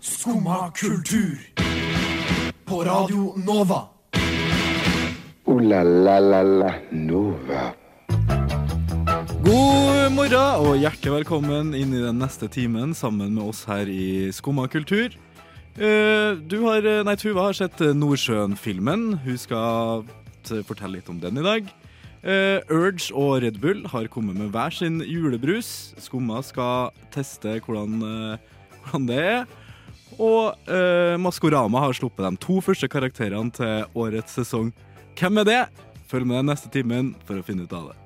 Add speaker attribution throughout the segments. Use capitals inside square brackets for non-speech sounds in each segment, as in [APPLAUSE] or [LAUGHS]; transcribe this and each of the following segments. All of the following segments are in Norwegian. Speaker 1: Skumma kultur. På Radio Nova.
Speaker 2: Ooh la la la la Nova.
Speaker 3: God morgen og hjertelig velkommen inn i den neste timen sammen med oss her i Skumma kultur. Eh, Du har, nei, Tuva har sett eh, Nordsjøen-filmen. Hun skal t- fortelle litt om den i dag. Eh, Urge og Red Bull har kommet med hver sin julebrus. Skumma skal teste hvordan, eh, hvordan det er. Og eh, Maskorama har sluppet de to første karakterene til årets sesong. Hvem er det? Følg med den neste timen for å finne ut av det.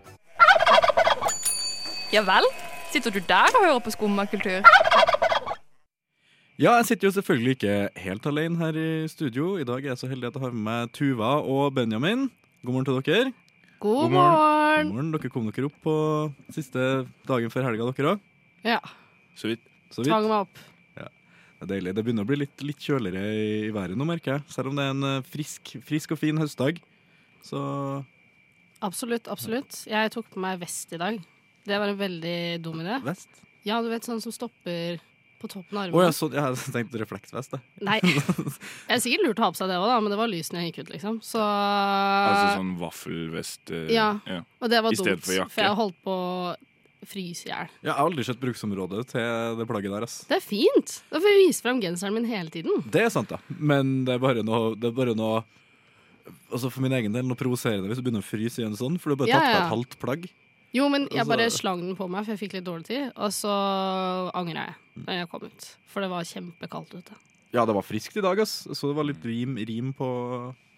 Speaker 4: Ja vel? Sitter du der og hører på skummakultur?
Speaker 3: Ja, jeg sitter jo selvfølgelig ikke helt alene her i studio. I dag er jeg så heldig at jeg har med meg Tuva og Benjamin. God morgen til dere.
Speaker 5: God,
Speaker 3: God
Speaker 5: morgen.
Speaker 3: God morgen. Dere kom dere opp på siste dagen før helga, dere òg.
Speaker 5: Ja,
Speaker 3: Så vidt. Så
Speaker 5: tvang
Speaker 3: vidt.
Speaker 5: meg opp.
Speaker 3: Det er deilig. Det begynner å bli litt, litt kjøligere i, i været nå, merker jeg. Selv om det er en eh, frisk, frisk og fin høstdag. Så
Speaker 5: Absolutt, absolutt. Jeg tok på meg vest i dag. Det var en veldig dum idé.
Speaker 3: vest.
Speaker 5: Ja, du vet sånn som stopper på toppen
Speaker 3: Å
Speaker 5: av armen.
Speaker 3: ja, sånn. Ja, [LAUGHS] jeg tenkte refleksvest, jeg.
Speaker 6: [LAUGHS]
Speaker 5: Nei. Det er sikkert lurt å ha på seg det òg, da, men det var lysene jeg gikk ut, liksom. Så
Speaker 6: Altså sånn vaffelvest eh,
Speaker 5: Ja. Og det var
Speaker 6: i stedet
Speaker 5: dumt,
Speaker 6: for jakke.
Speaker 5: for jeg holdt på å fryse i hjel.
Speaker 3: Jeg har aldri sett bruksområdet til det plagget der, ass.
Speaker 5: Det er fint! Da får jeg vise fram genseren min hele tiden.
Speaker 3: Det er sant, da. Men det er bare noe, det er bare noe Altså For min egen del noe provoserende hvis du begynner å fryse i en sånn. For du har bare
Speaker 5: Ja,
Speaker 3: tatt på
Speaker 5: ja.
Speaker 3: et halvt plagg.
Speaker 5: Jo, men jeg
Speaker 3: Altså-
Speaker 5: bare slang den på meg, for jeg fikk litt dårlig tid. Og så angra jeg da jeg kom ut, for det var kjempekaldt ute.
Speaker 3: Ja, det var friskt i dag, ass. Så det var litt rim, rim på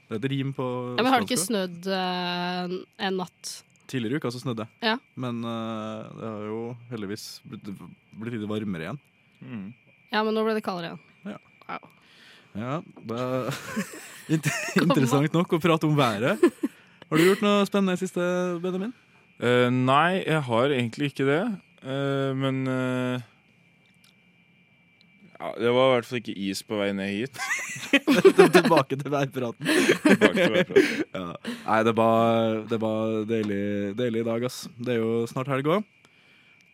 Speaker 3: Det er et rim på
Speaker 5: Ja, men har det ikke
Speaker 3: østlandska.
Speaker 5: snødd eh, en natt?
Speaker 3: Tidligere i uka så snødde det.
Speaker 5: Ja.
Speaker 3: Men eh, det har jo heldigvis blitt, blitt litt varmere igjen.
Speaker 6: Mm.
Speaker 5: Ja, men nå ble det kaldere igjen.
Speaker 3: Ja, det er [LAUGHS] int- interessant nok å prate om været. Har du gjort noe spennende i siste, Benjamin?
Speaker 6: Eh, nei, jeg har egentlig ikke det. Eh, men eh, ja, Det var i hvert fall ikke is på vei ned [LAUGHS] hit.
Speaker 3: Tilbake til værpraten.
Speaker 6: Tilbake til hver plass.
Speaker 3: Ja. Nei, det var, det var deilig, deilig i dag, ass. Det er jo snart helg òg.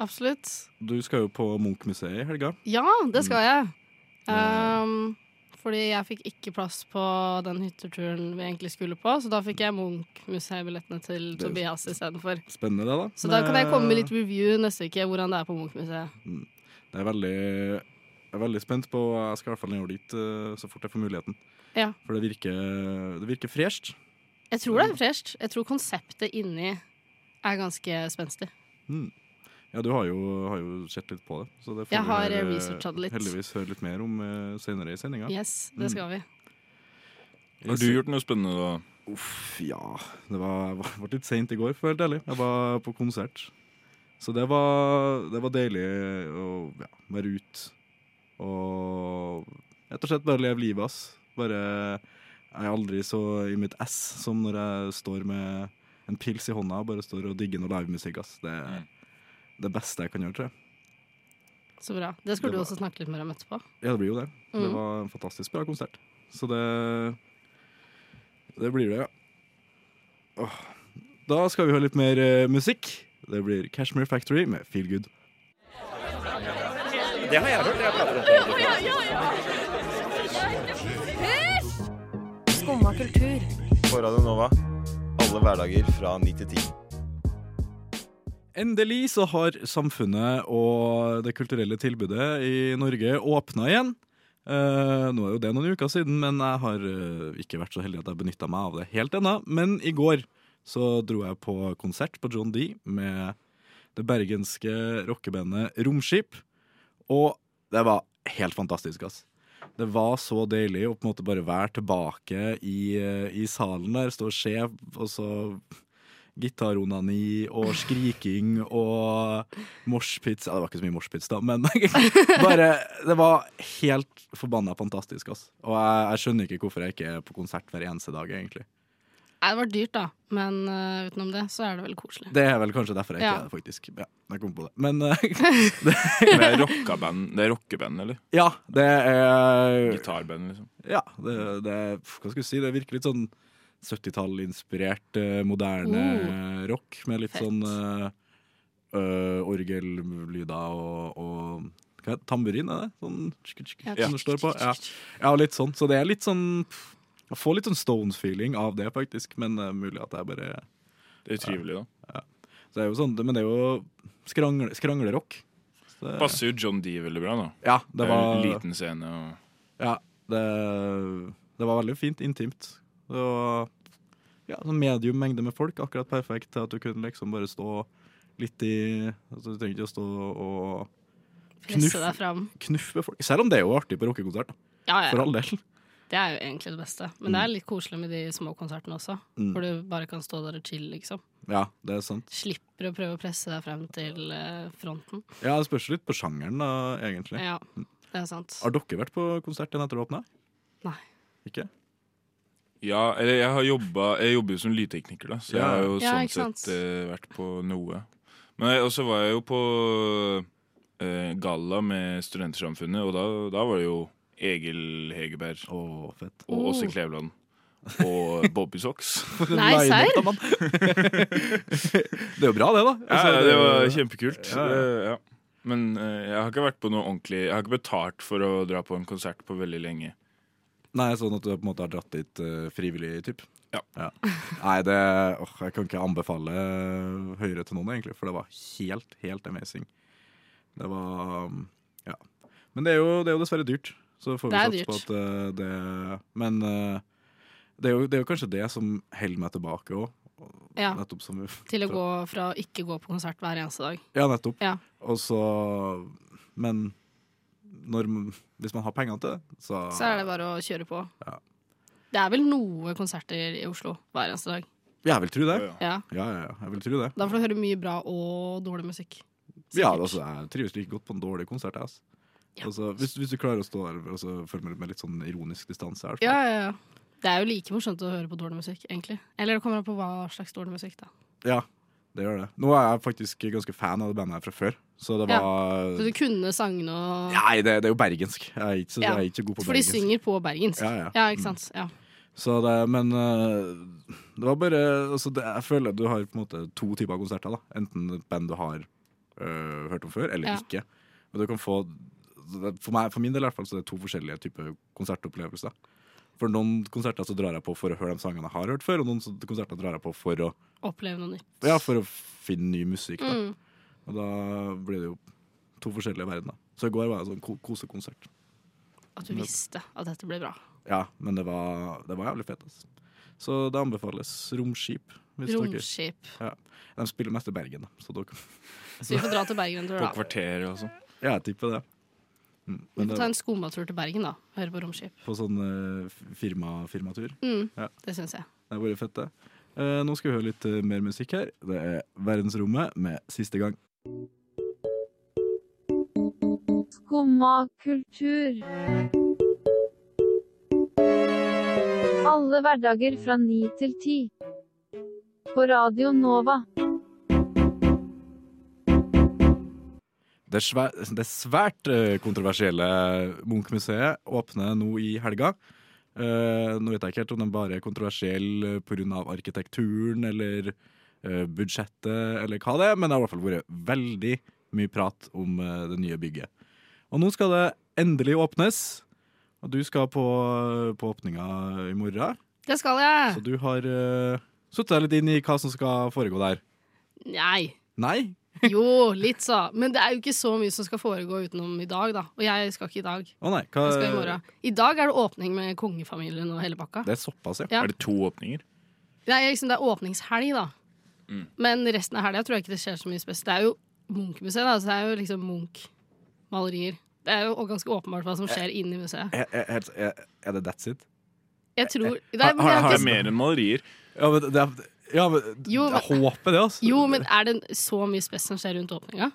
Speaker 5: Absolutt.
Speaker 3: Du skal jo på Munch-museet i helga.
Speaker 5: Ja, det
Speaker 3: Mm.
Speaker 5: skal jeg. Ehm, fordi jeg fikk ikke plass på den hytteturen vi egentlig skulle på, så da fikk jeg Munch-museibillettene til
Speaker 3: Det er jo-
Speaker 5: Tobias istedenfor.
Speaker 3: Spennende, det, da.
Speaker 5: Så da kan jeg komme med litt review neste uke, hvordan det er på Munch-museet.
Speaker 3: Det eh, er veldig jeg er veldig spent på Jeg skal i hvert fall nedover dit eh, så fort jeg får muligheten.
Speaker 5: Ja.
Speaker 3: For det virker, det virker fresht.
Speaker 5: Jeg tror det er fresht. Jeg tror konseptet inni er ganske spenstig.
Speaker 3: Ja, du har jo, har jo sett litt på det. Så det får
Speaker 5: Jeg
Speaker 3: vi
Speaker 5: har,
Speaker 3: høre-
Speaker 5: eh, researchet det litt.
Speaker 3: heldigvis høre litt mer om eh, senere i sendinga.
Speaker 5: Yes,
Speaker 3: Mm.
Speaker 5: det skal vi.
Speaker 6: Har du gjort noe spennende, da?
Speaker 3: Uff, ja. Det var, [LAUGHS] var, var litt seint i går, for å være helt ærlig. Jeg var på konsert. Så det var, det var deilig å ja, være ute og rett og slett bare leve livet, ass. Bare Jeg er aldri så i mitt ess som når jeg står med en pils i hånda og bare står og digger noe livemusikk, ass. Det er det beste jeg kan gjøre, tror jeg.
Speaker 5: Så bra. Det skal
Speaker 3: Det
Speaker 5: du
Speaker 3: var-
Speaker 5: også snakke litt mer om etterpå.
Speaker 3: Ja, det blir jo det. Det
Speaker 5: Mm.
Speaker 3: var en fantastisk bra konsert. Så det Det blir det, ja. Åh. Da skal vi høre litt mer eh, musikk. Det blir Cashmere Factory med Feel Good.
Speaker 7: Skumma kultur.
Speaker 8: på Radio Nova. Alle hverdager fra 9 til 10.
Speaker 3: Endelig så har samfunnet og det kulturelle tilbudet i Norge åpna igjen. Eh, nå er jo det noen uker siden, men jeg har eh, ikke vært så heldig at jeg benytta meg av det helt ennå. Men i går så dro jeg på konsert på John D med det bergenske rockebandet Romskip. Og det var helt fantastisk, ass. Det var så deilig å på en måte bare være tilbake i, eh, i salen der, stå og se, og så gitaronani og skriking og moshpits. Ja, det var ikke så mye moshpits, da, men [LAUGHS] bare Det var helt forbanna fantastisk, ass. Og jeg, jeg skjønner ikke hvorfor jeg ikke er på konsert hver eneste dag, egentlig.
Speaker 5: Nei, det var dyrt, da, men eh, utenom det så er det veldig koselig.
Speaker 3: Det er vel kanskje derfor jeg ikke
Speaker 5: Ja.
Speaker 3: er det, faktisk. Ja, jeg kom på det. Men eh, [LAUGHS]
Speaker 6: Det er rockaband, det er rockeband eller?
Speaker 3: ja, det er
Speaker 6: Gitarband, liksom.
Speaker 3: Ja, det, det er- Hva skal jeg si? Det virker litt sånn 70-tall-inspirert, eh, moderne rock med litt
Speaker 5: Fett.
Speaker 3: sånn eh, eh, orgellyder og, og hva er det? Tamburin, er det? Sånn tsk, tsk,
Speaker 5: Ja.
Speaker 3: som det står på. Ja. ja, litt sånn. Så det er litt sånn pff, Jeg får litt sånn Stones-feeling av det, faktisk. Men det er mulig at jeg bare
Speaker 6: Det er trivelig, da.
Speaker 3: så det er jo sånn, Men det er jo skrangle, skranglerock. Så det-
Speaker 6: Passer jo John D veldig bra, da.
Speaker 3: Ja, det var
Speaker 6: er jo en liten scene og
Speaker 3: Ja, det, det var veldig fint, intimt. Det var ja, sånn medium mengde med folk, akkurat perfekt til at du kunne liksom bare stå litt i altså Du trengte ikke å stå og
Speaker 5: Presse
Speaker 3: Knuff.
Speaker 5: deg fram.
Speaker 3: knuffe folk. Selv om det er jo artig på rockekonsert, da,
Speaker 5: Ja,
Speaker 3: for
Speaker 5: ja.
Speaker 3: all del.
Speaker 5: Det er jo egentlig det beste. Men det er litt koselig med de små konsertene også,
Speaker 3: Mm.
Speaker 5: hvor du bare kan stå der og chille, liksom.
Speaker 3: Ja, det er sant.
Speaker 5: Slipper å prøve å presse deg frem til eh, fronten.
Speaker 3: Ja, Det spørs litt på sjangeren, da, egentlig.
Speaker 5: Ja, det er sant.
Speaker 3: Har dere vært på konsert igjen etter å åpne?
Speaker 5: Nei.
Speaker 3: Ikke?
Speaker 6: Ja, eller jeg har jobba Jeg jobber jo som lydtekniker, da, så
Speaker 3: Ja.
Speaker 6: jeg har jo
Speaker 5: Ja, ikke
Speaker 6: sånn
Speaker 5: sant?
Speaker 6: sett eh, vært på noe. Men jeg, og så var jeg jo på eh, galla med Studentersamfunnet, og da, da var det jo Egil Hegerberg
Speaker 3: Å, fett.
Speaker 6: og Åse
Speaker 5: Oh.
Speaker 6: Kleveland og
Speaker 5: [LAUGHS]
Speaker 6: Bobby Socks.
Speaker 5: Nei, serr?
Speaker 3: Line-up, da, mann. [LAUGHS] det er jo bra, det, da.
Speaker 6: Ja,
Speaker 3: Altså,
Speaker 6: det var kjempekult.
Speaker 3: Ja, ja.
Speaker 6: Eh, ja. Men eh, jeg har ikke vært på noe ordentlig Jeg har ikke betalt for å dra på en konsert på veldig lenge.
Speaker 3: Nei, sånn at du på en måte har dratt dit eh, frivillig, typ?
Speaker 6: Ja.
Speaker 3: Nei, det åh, Jeg kan ikke anbefale eh, høyere til noen, egentlig, for det var helt, helt amazing. Det var um, Ja. Men det er jo, det er jo dessverre dyrt. Så får vi
Speaker 5: Det er
Speaker 3: satse på at eh, det Men eh, det, er jo, det er jo kanskje det som holder meg tilbake òg.
Speaker 5: Ja,
Speaker 3: Nettopp som vi
Speaker 5: til å
Speaker 3: [LAUGHS]
Speaker 5: gå fra å ikke gå på konsert hver eneste dag.
Speaker 3: Ja, nettopp.
Speaker 5: Ja.
Speaker 3: Og så Men når, hvis man har penger til det, så,
Speaker 5: Så er det bare å kjøre på.
Speaker 3: Ah. Ja.
Speaker 5: Det er vel noe konserter i Oslo hver eneste dag.
Speaker 3: Ja, Jeg vil tro det.
Speaker 6: Ja, ja.
Speaker 5: Ja.
Speaker 3: Ja, ja, ja. Jeg vil tro det.
Speaker 5: Da får du høre mye bra og dårlig musikk.
Speaker 3: Ja,
Speaker 5: Sikkert.
Speaker 3: altså, jeg trives like godt på en dårlig konsert. jeg, Altså.
Speaker 5: Ja.
Speaker 3: Altså, hvis, hvis du klarer å stå der og så følge med med litt sånn ironisk distanse her. så-
Speaker 5: Ja, ja, ja. Det er jo like morsomt å høre på dårlig musikk, egentlig. Eller det kommer an på hva slags dårlig musikk, da.
Speaker 3: Ja, det gjør det. Nå er jeg faktisk ganske fan av det bandet her fra før, så det
Speaker 5: Ja.
Speaker 3: var
Speaker 5: Så du kunne sangene og
Speaker 3: Nei, det, det er jo bergensk. Jeg er ikke, så,
Speaker 5: Ja.
Speaker 3: jeg er ikke god på
Speaker 5: For de
Speaker 3: bergensk.
Speaker 5: synger på bergensk.
Speaker 3: Ja, Mm. ja.
Speaker 5: ikke sant. Ja.
Speaker 3: Så det, men øh, det var bare altså det, Jeg føler at du har på en måte to typer konserter. da Enten et band du har øh, hørt om før, eller
Speaker 5: Ja.
Speaker 3: ikke. Og du kan få altså det- for, meg, for min del i hvert fall Så er det to forskjellige typer konsertopplevelser. For noen konserter så drar jeg på for å høre de sangene jeg har hørt før, og noen så- konserter drar jeg på for å,
Speaker 5: Oppleve noe nytt.
Speaker 3: ja, for å finne ny musikk. Da.
Speaker 5: Mm.
Speaker 3: Og da blir det jo to forskjellige verdener. Så i går var jeg sånn ko kosekonsert.
Speaker 5: At du visste at dette ble bra.
Speaker 3: Ja, men det var, det var jævlig fett. Altså. Så det anbefales Romskip. Hvis dere,
Speaker 5: Romskip.
Speaker 3: de spiller mest i Bergen, da. Så dere, [LAUGHS]
Speaker 5: Så vi får dra til Bergen en tur,
Speaker 6: På
Speaker 5: da.
Speaker 6: kvarteret og sånn.
Speaker 3: ja, jeg tipper det. Mm,
Speaker 5: Vi
Speaker 3: Men
Speaker 5: får
Speaker 3: det
Speaker 5: ta
Speaker 3: var
Speaker 5: en skomatur til Bergen, da. Høre på romskip.
Speaker 3: på sånn eh, firma, firmatur.
Speaker 5: Mm.
Speaker 3: Ja.
Speaker 5: Det syns jeg.
Speaker 3: Det har vært fett, det. Eh, nå skal vi høre litt eh, mer musikk her. Det er Verdensrommet med Siste gang.
Speaker 9: Skumma kultur. Alle hverdager fra 9 til 10. På Radio Nova.
Speaker 3: Det, svæ- det svært eh, kontroversielle Munch-museet åpner nå i helga. Eh, nå vet jeg ikke helt om den bare er kontroversiell eh, pga. arkitekturen eller eh, budsjettet, eller hva det er, men det har i hvert fall vært veldig mye prat om eh, det nye bygget. Og nå skal det endelig åpnes, og du skal på, på åpninga i morgen.
Speaker 5: Det skal
Speaker 3: Så
Speaker 5: jeg!
Speaker 3: du har uh, satt deg litt inn i hva som skal foregå der.
Speaker 5: Nei.
Speaker 3: Nei?
Speaker 5: Jo, litt, så. Men det er jo ikke så mye som skal foregå utenom i dag, da. Og jeg skal ikke i dag.
Speaker 3: Å nei. Hva,
Speaker 5: Jeg skal i morgen. I dag er det åpning med kongefamilien og hele pakka.
Speaker 3: det er såpass, ja.
Speaker 5: Ja.
Speaker 6: Er det to åpninger?
Speaker 5: Det er, liksom, det er åpningshelg, da.
Speaker 3: Mm.
Speaker 5: Men resten av helga tror jeg ikke det skjer så mye spes. Det er jo Munch-museet, da. Så det er jo liksom Munch-malerier. Det er jo og ganske åpenbart hva som
Speaker 3: Eh.
Speaker 5: skjer inne i museet.
Speaker 3: Er, er, er- er, er det that's it?
Speaker 5: Jeg tror Nei,
Speaker 3: Har-
Speaker 5: men det er
Speaker 3: Eh. har-
Speaker 6: Det
Speaker 5: jo
Speaker 6: er
Speaker 5: ikke
Speaker 6: mer enn malerier.
Speaker 3: Ja, men, det er, ja, men
Speaker 5: Jo,
Speaker 3: jeg håper det, altså.
Speaker 5: Jo, men er det så mye spes som skjer rundt åpninga?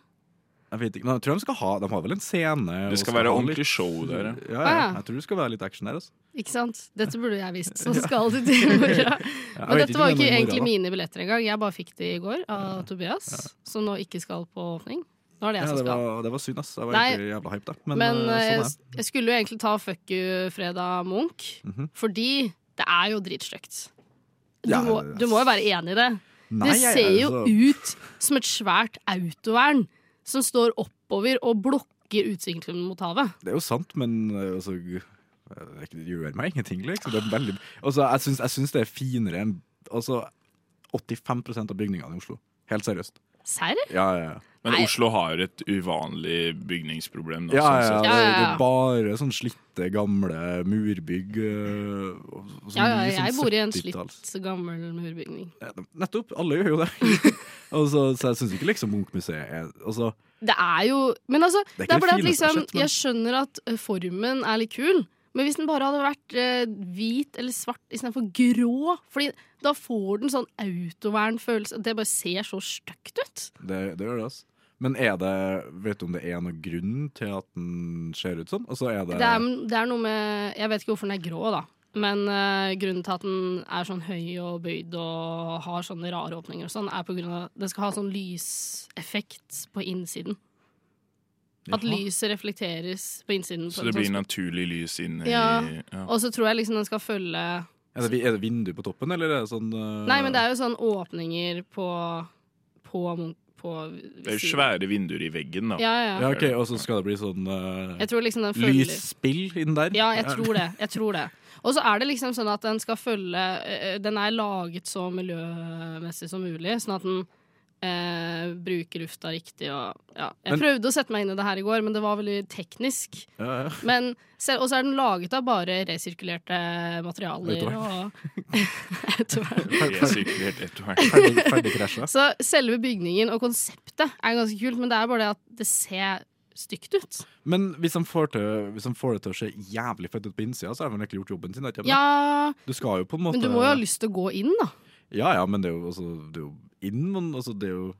Speaker 3: Jeg vet ikke, men jeg tror de skal ha De har vel en scene. og
Speaker 6: Det skal
Speaker 3: ha
Speaker 6: være
Speaker 3: litt-
Speaker 6: ordentlig show der. ja.
Speaker 3: Ja, ja.
Speaker 5: Ah, ja.
Speaker 3: Jeg tror det skal være litt action der. Altså.
Speaker 5: Ikke sant? Dette burde jeg visst, så skal det til i
Speaker 3: [LAUGHS]
Speaker 5: morgen.
Speaker 3: Jeg
Speaker 5: Men
Speaker 3: vet
Speaker 5: dette
Speaker 3: om
Speaker 5: var jo
Speaker 3: det
Speaker 5: ikke
Speaker 3: er noe
Speaker 5: egentlig
Speaker 3: moro,
Speaker 5: mine billetter engang. Jeg bare fikk de i går av Tobias, som nå ikke skal på åpning. Nå
Speaker 3: da.
Speaker 5: er det
Speaker 3: Ja,
Speaker 5: jeg som
Speaker 3: det,
Speaker 5: skal.
Speaker 3: var, det var synd, ass. Jeg var
Speaker 5: Nei.
Speaker 3: egentlig jævla hype, da. Men,
Speaker 5: Men
Speaker 3: eh, sånn
Speaker 5: eh,
Speaker 3: er det.
Speaker 5: jeg skulle jo egentlig ta Fuck you fredag Munch,
Speaker 3: Mhm.
Speaker 5: fordi det er jo dritstygt. Du,
Speaker 3: Ja,
Speaker 5: må-
Speaker 3: ass.
Speaker 5: du må jo være enig i det.
Speaker 3: Nei,
Speaker 5: Det
Speaker 3: jeg-
Speaker 5: ser jo
Speaker 3: altså,
Speaker 5: ut som et svært autovern som står oppover og blokker blokker utsikten mot havet.
Speaker 3: Det er jo sant, men eh, altså, g- eh, det gjør meg ingenting, liksom. Det er veldig, altså, jeg, syns, jeg syns det er finere enn altså, 85 av bygningene i Oslo. Helt seriøst.
Speaker 5: Serr?
Speaker 3: Ja, ja, ja.
Speaker 6: Men
Speaker 5: Nei.
Speaker 6: Oslo har et uvanlig bygningsproblem. Da,
Speaker 3: ja,
Speaker 6: sånn
Speaker 3: ja,
Speaker 6: sett.
Speaker 3: Det,
Speaker 5: Ja, ja,
Speaker 3: det
Speaker 5: ja.
Speaker 3: er bare sånn slitte, gamle murbygg. eh, og- og så
Speaker 5: Ja, ja,
Speaker 3: mye sånn
Speaker 5: jeg bor i en
Speaker 3: 70-talls.
Speaker 5: slitt gammel murbygning.
Speaker 3: Ja, Nettopp. Alle gjør jo det. [LAUGHS] altså, så jeg syns ikke liksom Munch-museet er altså,
Speaker 5: Det er jo Men altså,
Speaker 3: Det er
Speaker 5: det
Speaker 3: ikke
Speaker 5: er
Speaker 3: det
Speaker 5: bare at
Speaker 3: fineste jeg har
Speaker 5: liksom
Speaker 3: sett, men-
Speaker 5: Jeg skjønner at ø, formen er litt kul, men hvis den bare hadde vært ø, hvit eller svart istedenfor grå Fordi da får den sånn autovernfølelse. Det bare ser så stygt ut.
Speaker 3: det, det gjør det, altså. Men er det, vet du om det er noen grunn til at den ser ut sånn? Altså, er det,
Speaker 5: Det er, det er noe med Jeg vet ikke hvorfor den er grå, da. Men ø, grunnen til at den er sånn høy og bøyd og har sånne rare åpninger og sånn, er på grunn av at den skal ha sånn lyseffekt på innsiden. At
Speaker 3: Jaha.
Speaker 5: lyset reflekteres på innsiden. på
Speaker 6: Så
Speaker 5: en
Speaker 6: det
Speaker 5: sånn
Speaker 6: blir naturlig lys inn i
Speaker 5: Ja.
Speaker 6: ja.
Speaker 5: Og så tror jeg liksom den skal følge
Speaker 3: Er det, vi- er det vindu på toppen, eller er det sånn eh,
Speaker 5: Nei, men det er jo sånn åpninger på På, Munch- på
Speaker 6: Det er jo svære vinduer i veggen, da.
Speaker 5: Ja, ja.
Speaker 3: Ja, ok, Og så skal det bli sånn eh,
Speaker 5: Jeg tror liksom den følger
Speaker 3: lysspill i den der?
Speaker 5: Ja, jeg tror det. Jeg tror det. Og så er det liksom sånn at den skal følge eh, Den er laget så miljømessig som mulig, sånn at den eh, bruker lufta riktig og ja. Jeg
Speaker 3: Men-
Speaker 5: prøvde å sette meg inn i det her i går, men det var veldig teknisk.
Speaker 3: Ja, ja.
Speaker 5: Men, selv- og så er den laget av bare resirkulerte materialer
Speaker 3: Autovern.
Speaker 5: og [LAUGHS] Autovern.
Speaker 6: Resirkulert etterhvert.
Speaker 3: Ferdig, ferdig krasja.
Speaker 5: Så selve bygningen og konseptet er ganske kult, men det er bare det at det ser stygt ut.
Speaker 3: Men hvis han får, til, hvis han får det til å se jævlig fett ut på innsida, så har han egentlig gjort jobben sin. Ikke? sant?
Speaker 5: Ja,
Speaker 3: Du skal jo på en måte
Speaker 5: men du må jo ha lyst til å gå inn, da.
Speaker 3: Ja ja, men det er jo, altså, det er jo inn, men altså, det er jo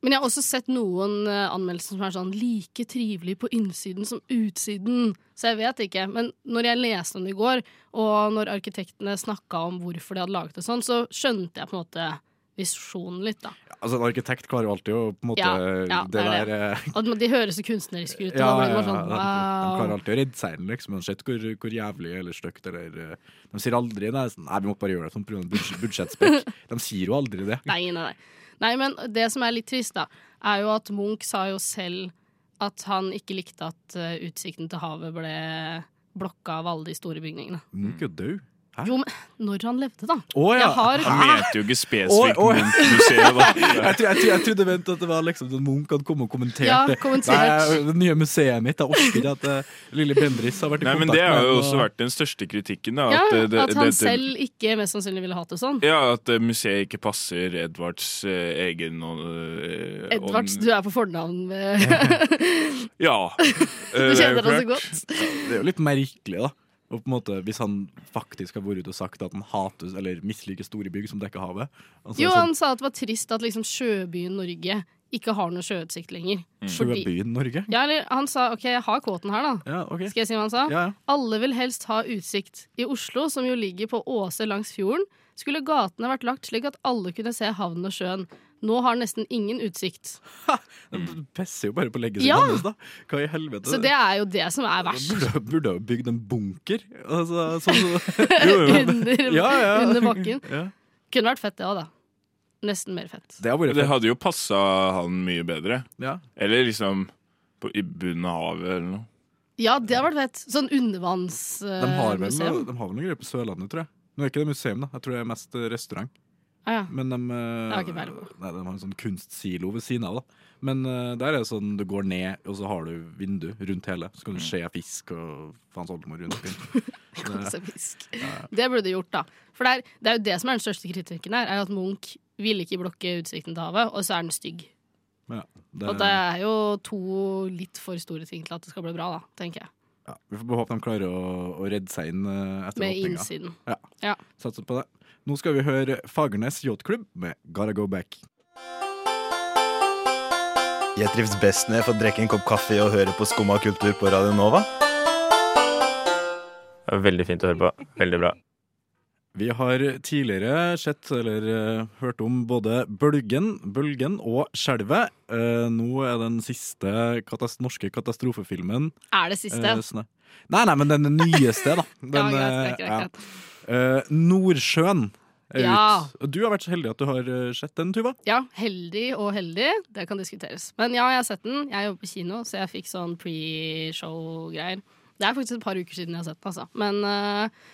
Speaker 5: Men jeg har også sett noen eh, anmeldelser som er sånn like trivelig på innsiden som utsiden. Så jeg vet ikke. Men når jeg leste om det i går, og når arkitektene snakka om hvorfor de hadde laget det sånn, så skjønte jeg på en måte visjonen litt, da.
Speaker 3: Altså, en arkitekt klarer jo alltid å på en måte
Speaker 5: Ja, ja,
Speaker 3: Det
Speaker 5: det er
Speaker 3: der eh,
Speaker 5: Og de høres så kunstneriske
Speaker 3: [LAUGHS]
Speaker 5: ut. Og
Speaker 3: Ja,
Speaker 5: da
Speaker 3: ja,
Speaker 5: blir det
Speaker 3: ja,
Speaker 5: bare
Speaker 3: de,
Speaker 5: sånn,
Speaker 3: de klarer
Speaker 5: wow.
Speaker 3: alltid å redde seilen, liksom. Uansett hvor, hvor jævlig eller stygt eller eh, De sier aldri det. er Sånn, Nei, vi måtte bare gjøre det sånn pga.
Speaker 5: [LAUGHS]
Speaker 3: budsj- budsjettspekk. De sier jo aldri det.
Speaker 5: Nei, nei, nei. Nei, men det som er litt trist, da, er jo at Munch sa jo selv at han ikke likte at eh, utsikten til havet ble blokka av alle de store bygningene.
Speaker 3: Munch er jo død. Hæ?
Speaker 5: Jo, men når han levde, da.
Speaker 3: Å ja!
Speaker 5: Jeg har Ah!
Speaker 6: Han mente jo ikke spesifikt
Speaker 3: Oi, oi. [LAUGHS]
Speaker 6: Munch-museet, da.
Speaker 3: Jeg, tro, jeg, tro, jeg trodde vent at det var liksom sånn Munch hadde kommet og kommentert
Speaker 5: Ja,
Speaker 3: det.
Speaker 5: kommentert.
Speaker 3: Nei, det nye museet mitt. Jeg orker ikke at eh, lille Bendriss har vært i
Speaker 6: Nei, men
Speaker 3: kontakt
Speaker 6: det
Speaker 3: med
Speaker 6: har jo
Speaker 3: den,
Speaker 6: også
Speaker 3: og-
Speaker 6: vært den største kritikken, da. eh,
Speaker 5: Ja,
Speaker 6: det- det-
Speaker 5: at han
Speaker 6: det- det-
Speaker 5: selv ikke mest sannsynlig ville hatt det sånn.
Speaker 6: Ja, at eh, museet ikke passer Edvards eh, egen eh,
Speaker 5: Edvards,
Speaker 6: ånd.
Speaker 5: du er på fornavn
Speaker 6: [LAUGHS]
Speaker 5: med
Speaker 6: Ja.
Speaker 5: [LAUGHS] Du
Speaker 6: Eh, det er jo
Speaker 5: kjenner han så
Speaker 6: klart.
Speaker 5: godt.
Speaker 3: Det er jo litt merkelig, da. Og på en måte, Hvis han faktisk har vært ute og sagt at han hater eller misliker store bygg som dekker havet altså,
Speaker 5: Jo,
Speaker 3: sånn,
Speaker 5: han sa at det var trist at liksom sjøbyen Norge ikke har noe sjøutsikt lenger.
Speaker 6: Mm.
Speaker 5: Fordi,
Speaker 3: Sjøbyen Norge?
Speaker 5: ja, eller han sa OK, jeg har kvoten her, da.
Speaker 3: Ja, OK.
Speaker 5: Skal jeg si hva han sa?
Speaker 3: Ja, ja.
Speaker 5: Alle vil helst ha utsikt. I Oslo, som jo ligger på åse langs fjorden, skulle gatene vært lagt slik at alle kunne se havnen og sjøen. Nå har nesten ingen utsikt.
Speaker 3: De pisser jo bare på legget sitt
Speaker 5: Ja.
Speaker 3: hans, da. Hva i helvete?
Speaker 5: Så det er jo det som er
Speaker 3: Da [LAUGHS]
Speaker 5: verst.
Speaker 3: Burde, burde ha bygd en bunker. Altså, sånn
Speaker 6: [LAUGHS]
Speaker 3: så,
Speaker 5: [LAUGHS] Under,
Speaker 3: ja, ja.
Speaker 5: under bakken.
Speaker 3: Ja.
Speaker 5: Kunne vært fett, det òg, da. Nesten mer fett.
Speaker 3: Det har vært
Speaker 6: Det hadde jo passa han mye bedre.
Speaker 3: ja.
Speaker 6: Eller liksom på, i bunnen av havet eller noe.
Speaker 5: Ja, det hadde vært fett. Sånn eh,
Speaker 3: De har vel
Speaker 5: undervannsmuseum.
Speaker 3: noe, de har vel noe greier på Sørlandet, tror jeg. Nå er ikke det museum, da. Jeg tror det er mest eh, restaurant.
Speaker 5: ja, ja.
Speaker 3: Men de, eh,
Speaker 5: Det har ikke peiling på.
Speaker 3: nei, de har en sånn kunstsilo ved siden av. da. Men eh, der er det sånn, du går ned, og så har du vindu rundt hele. Så
Speaker 5: Mm.
Speaker 3: kan du se fisk og faens oldemor rundt
Speaker 5: [LAUGHS]
Speaker 3: omkring. Det-
Speaker 5: Konsefisk. Det burde du gjort, da. For det er, det er jo det som er den største kritikken her, er at Munch ville ikke blokke utsikten til havet, og så er den stygg.
Speaker 3: men ja, det-
Speaker 5: Og det er jo to litt for store ting til at det skal bli bra, da, tenker jeg.
Speaker 3: ja, vi får bare håpe de klarer å, å redde seg inn eh, etter
Speaker 5: Med
Speaker 3: åpninga.
Speaker 5: innsiden.
Speaker 3: Ja.
Speaker 5: Ja.
Speaker 3: Satser på det. Nå skal vi høre Fagernes Yachtklubb med Gotta Go Back.
Speaker 8: Jeg trives best når jeg får drikke en kopp kaffe og høre på Skumma kultur på Radio Nova.
Speaker 10: Veldig fint å høre på. Veldig bra.
Speaker 3: Vi har tidligere sett eller eh, hørt om både Bølgen, Bølgen og Skjelvet. Eh, nå er den siste katas norske katastrofefilmen
Speaker 5: Er det
Speaker 3: eh,
Speaker 5: siste?
Speaker 3: snø-
Speaker 5: [LAUGHS]
Speaker 3: Nei, nei, men den nyeste, da. Den,
Speaker 5: ja, greit, greit,
Speaker 3: eh,
Speaker 5: greit, greit.
Speaker 3: ja. Eh, Nordsjøen er
Speaker 5: Ja.
Speaker 3: ut. Du har vært så heldig at du har eh, sett den, Tuva.
Speaker 5: Ja, heldig og heldig, det kan diskuteres. Men ja, jeg har sett den. Jeg jobber på kino, så jeg fikk sånn pre-show-greier. Det er faktisk et par uker siden jeg har sett den, altså. Men eh,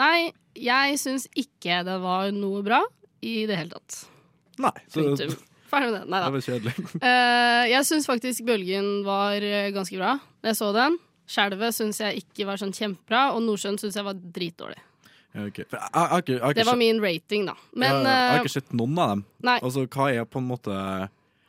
Speaker 5: nei, jeg syns ikke det var noe bra i det hele tatt.
Speaker 3: Nei, så det [LAUGHS]
Speaker 5: Punktum. Ferdig med det. Nei da.
Speaker 3: var kjedelig.
Speaker 5: Eh, jeg syns faktisk Bølgen var eh, ganske bra da jeg så den. Skjelvet syns jeg ikke var sånn kjempebra, og Nordsjøen syns jeg var dritdårlig.
Speaker 3: [LAUGHS] Ja, ok. For Jeg, jeg, har ikke- jeg, har ikke
Speaker 5: Det var
Speaker 3: sett-
Speaker 5: min rating, da. Men
Speaker 3: jeg, jeg har
Speaker 5: eh,
Speaker 3: ikke sett noen av dem.
Speaker 5: nei,
Speaker 3: Altså, hva er på en måte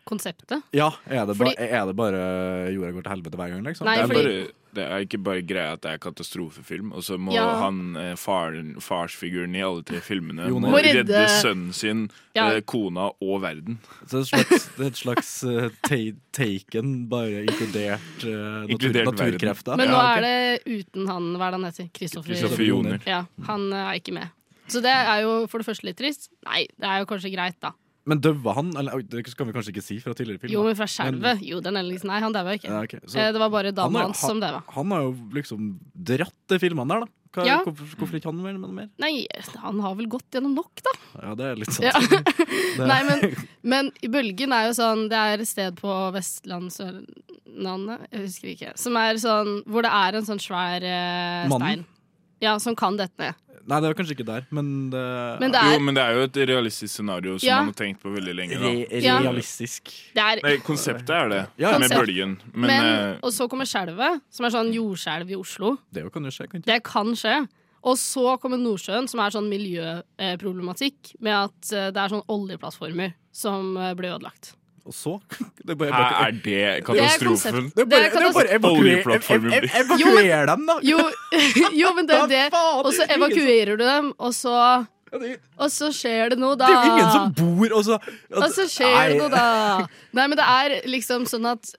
Speaker 5: konseptet
Speaker 3: Ja, er det, ba,
Speaker 5: Fordi-
Speaker 3: er det bare eh, jorda går til helvete hver gang, liksom?
Speaker 5: Nei,
Speaker 6: det, er
Speaker 5: fordi-
Speaker 6: bare, det er ikke bare greia at det er katastrofefilm, og så må
Speaker 5: Ja.
Speaker 6: han eh, faren, farsfiguren i alle tre filmene
Speaker 3: Jon
Speaker 6: må
Speaker 5: Må
Speaker 6: redde,
Speaker 5: redde-
Speaker 6: sønnen sin,
Speaker 5: Ja.
Speaker 6: eh, kona og verden.
Speaker 3: Så det er et slags, det er et slags eh, ta- taken, bare inkludert, eh, natur,
Speaker 6: Inkludert verden.
Speaker 3: naturkrefter.
Speaker 5: Men nå
Speaker 3: Ja, ok.
Speaker 5: er det uten han, hva er det han heter? Kristoffer
Speaker 6: Kristoffer Joner.
Speaker 5: Ja, han eh, er ikke med. Så det er jo for det første litt trist. Nei, det er jo kanskje greit, da.
Speaker 3: Men døva han? Eller, oi, det skal vi kanskje ikke si fra tidligere film.
Speaker 5: Jo,
Speaker 3: da.
Speaker 5: men fra skjelvet. Jo, den er liksom Nei, han daua ikke.
Speaker 3: Ja, ok. Så
Speaker 5: Eh, Det var bare
Speaker 3: Han er-
Speaker 5: dama hans
Speaker 3: han-
Speaker 5: som daua.
Speaker 3: han har jo liksom dratt de filmene der, da. Hva,
Speaker 5: Ja.
Speaker 3: hvorfor, hvorfor ikke han mer med mer?
Speaker 5: Nei, han har vel gått gjennom nok, da.
Speaker 3: Ja, det er litt sant.
Speaker 5: Ja. [LAUGHS]
Speaker 3: Det, [LAUGHS]
Speaker 5: Nei, men, men i Bølgen er jo sånn Det er et sted på Vestland Sørlandet, jeg husker ikke, som er sånn Hvor det er en sånn svær eh,
Speaker 3: Mannen?
Speaker 5: stein. Ja, som kan dette ned.
Speaker 3: Nei, det er kanskje ikke der, men det,
Speaker 5: Men det er,
Speaker 6: Jo, men det er jo et realistisk scenario som
Speaker 5: Ja.
Speaker 6: man har tenkt på veldig lenge. Da.
Speaker 3: Re
Speaker 5: Ja.
Speaker 3: realistisk.
Speaker 5: det er
Speaker 6: Nei, konseptet er det,
Speaker 3: Ja,
Speaker 6: med
Speaker 5: konsept.
Speaker 6: bølgen. Men,
Speaker 5: men,
Speaker 6: eh,
Speaker 5: Og så kommer skjelvet, som er sånn jordskjelv i Oslo.
Speaker 3: Det jo kan jo skje, kan ikke
Speaker 5: Det kan skje. Og så kommer Nordsjøen, som er sånn miljøproblematikk med at eh, det er sånn oljeplattformer som eh, ble ødelagt.
Speaker 3: Og så [LAUGHS] Det er bare,
Speaker 6: her er det katastrofen.
Speaker 5: Det er
Speaker 3: bare, det er
Speaker 5: katastrofe.
Speaker 3: bare evakuer,
Speaker 6: Oljeplattformen
Speaker 3: ev- ev-
Speaker 5: Jo,
Speaker 3: evakuer dem, da!
Speaker 5: Jo, [LAUGHS] jo, men det er det.
Speaker 3: Faen,
Speaker 5: Og så
Speaker 3: det er ingen som-
Speaker 5: evakuerer du dem, og så,
Speaker 3: Ja, det-
Speaker 5: og så skjer det noe, da.
Speaker 3: Det er jo ingen som bor, og så
Speaker 5: Og så skjer det noe, da. Nei, men det er liksom sånn at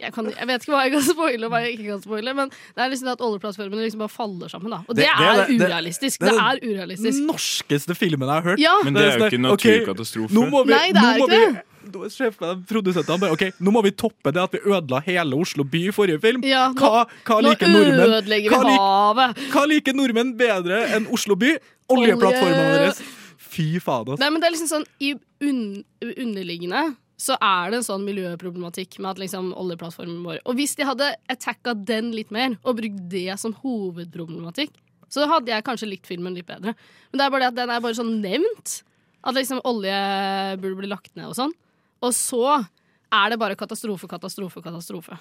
Speaker 5: jeg, kan, jeg vet ikke hva jeg kan spoile, og hva jeg ikke kan spoile, men det er liksom at oljeplattformene liksom bare faller sammen. da Og det,
Speaker 3: Det- det er det-
Speaker 5: er
Speaker 3: det-
Speaker 5: urealistisk.
Speaker 3: det er
Speaker 5: Det
Speaker 3: det-
Speaker 5: er urealistisk.
Speaker 3: norskeste filmen jeg har hørt.
Speaker 5: Ja,
Speaker 6: Men det er jo
Speaker 3: sånn,
Speaker 6: ikke
Speaker 3: ok,
Speaker 6: naturkatastrofe.
Speaker 3: Nå må vi,
Speaker 5: Nei, det er
Speaker 3: nå må
Speaker 5: ikke det.
Speaker 3: vi- Nå er sjefen av Produsentene bare OK, nå må vi toppe det at vi ødela hele Oslo by i forrige film.
Speaker 5: Ja, nå-
Speaker 3: hva, hva
Speaker 5: nå
Speaker 3: liker nordmenn?
Speaker 5: ødelegger
Speaker 3: Hva
Speaker 5: vi
Speaker 3: liker,
Speaker 5: havet.
Speaker 3: hva liker nordmenn bedre enn Oslo by? Oljeplattformene
Speaker 5: Olje.
Speaker 3: deres. Fy faen, altså. ass.
Speaker 5: Nei, men det er liksom sånn I un underliggende så er det en sånn miljøproblematikk med at liksom oljeplattformen vår Og hvis de hadde attacka den litt mer, og brukt det som hovedproblematikk, så hadde jeg kanskje likt filmen litt bedre. Men det er bare det at den er bare sånn nevnt. At liksom olje burde bli lagt ned og sånn. Og så er det bare katastrofe, katastrofe, katastrofe.